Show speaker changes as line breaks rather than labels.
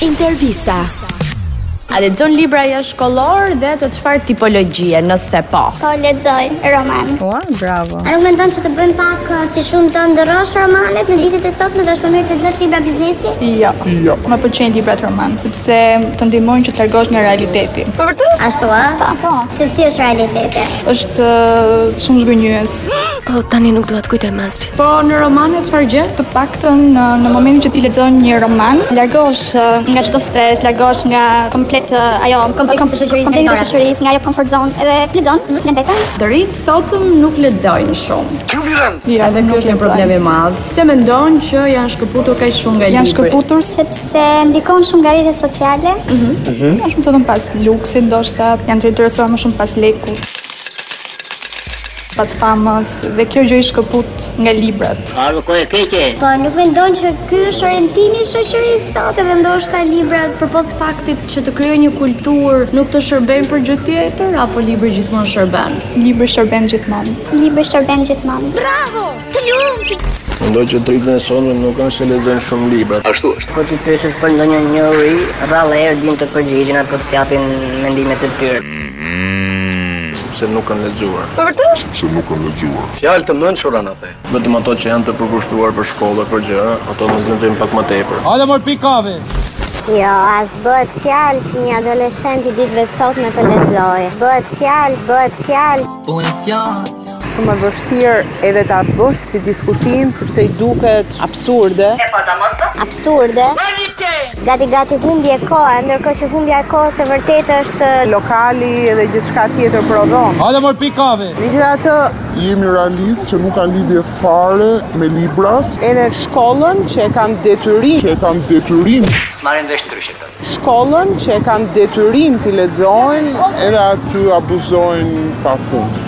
Intervista.
A lexon libra jashkollor dhe të çfarë tipologjie, nëse po?
Po lexoj roman.
Ua, bravo.
A nuk mendon që të bëjmë pak uh, si shumë të ndërrosh romanet në ditët e sotme dhe është më mirë të lexosh libra biznesi?
Jo. Jo. Më pëlqejnë librat roman, sepse të ndihmojnë që të largohesh nga realiteti.
Po vërtet?
Ashtu ë? Po, po. Se si është realiteti?
Është ë, shumë zgënjyes.
Po tani nuk dua të kujtoj masgjë.
Po në romane çfarë gjë?
Të paktën në, në momentin që ti lexon një roman, largohesh ë, nga çdo stres, largohesh nga komplet ë, ajo
Komplekti i
kom-
Po, shoqërisë
komplekti i
vendore.
shoqërisë, nga ajo comfort zone edhe lexon
Mhm.
në detaj.
Drit thotëm nuk lexojnë shumë.
Jo,
Edhe ky
nuk
është një
lexoj.
problem i madh. Se mendon që janë shkëputur kaq shumë nga libri?
Janë shkëputur se
Sepse ndikon shumë nga rrjetet sociale.
Hm?
janë shumë të dhënë pas luksit, ndoshta janë të interesuar më shumë pas lekut pas famës dhe kjo gjë i shkëput nga librat.
Ardhë kohë e keqe.
Po nuk mendon që ky është orientimi i shoqërisë sot edhe ndoshta librat
përpos faktit që të krijojë një kulturë nuk të shërbejnë për gjë tjetër apo libri gjithmonë shërben.
Libri shërben gjithmonë.
libër shërben gjithmonë.
Mendoj që dritën e sonme nuk është se lexojnë shumë libra.
Ashtu është.
Po ti pyesësh për ndonjë njerëj, rrallë herë din të përgjigjen apo të japin mendimet e tyre.
sepse nuk kanë lexuar.
Fjalë të mençura na the.
Vetëm ato që janë të përkushtuar për shkollë për gjëra, ato nuk lexojnë pak më tepër.
Jo, as bëhet fjalë që një adoleshent i ditëve të sotme të lexojë. Bëhet fjalë, bëhet fjalë
shumë e vështirë edhe ta bësh si diskutim sepse i duket absurde.
absurde. Gati gati humbje kohë, ndërkohë që humbja e kohës e vërtetë është
Lokali edhe gjithçka tjetër prodhon. Hajde mor pikave. Megjithatë,
jemi realist që nuk ka lidhje fare me librat,
edhe shkollën që e kam detyrim,
që e kam detyrim
Smarin vesh ndryshe këto.
shkollën që e kam detyrim ti lexojnë,
edhe aty abuzojnë pa fund.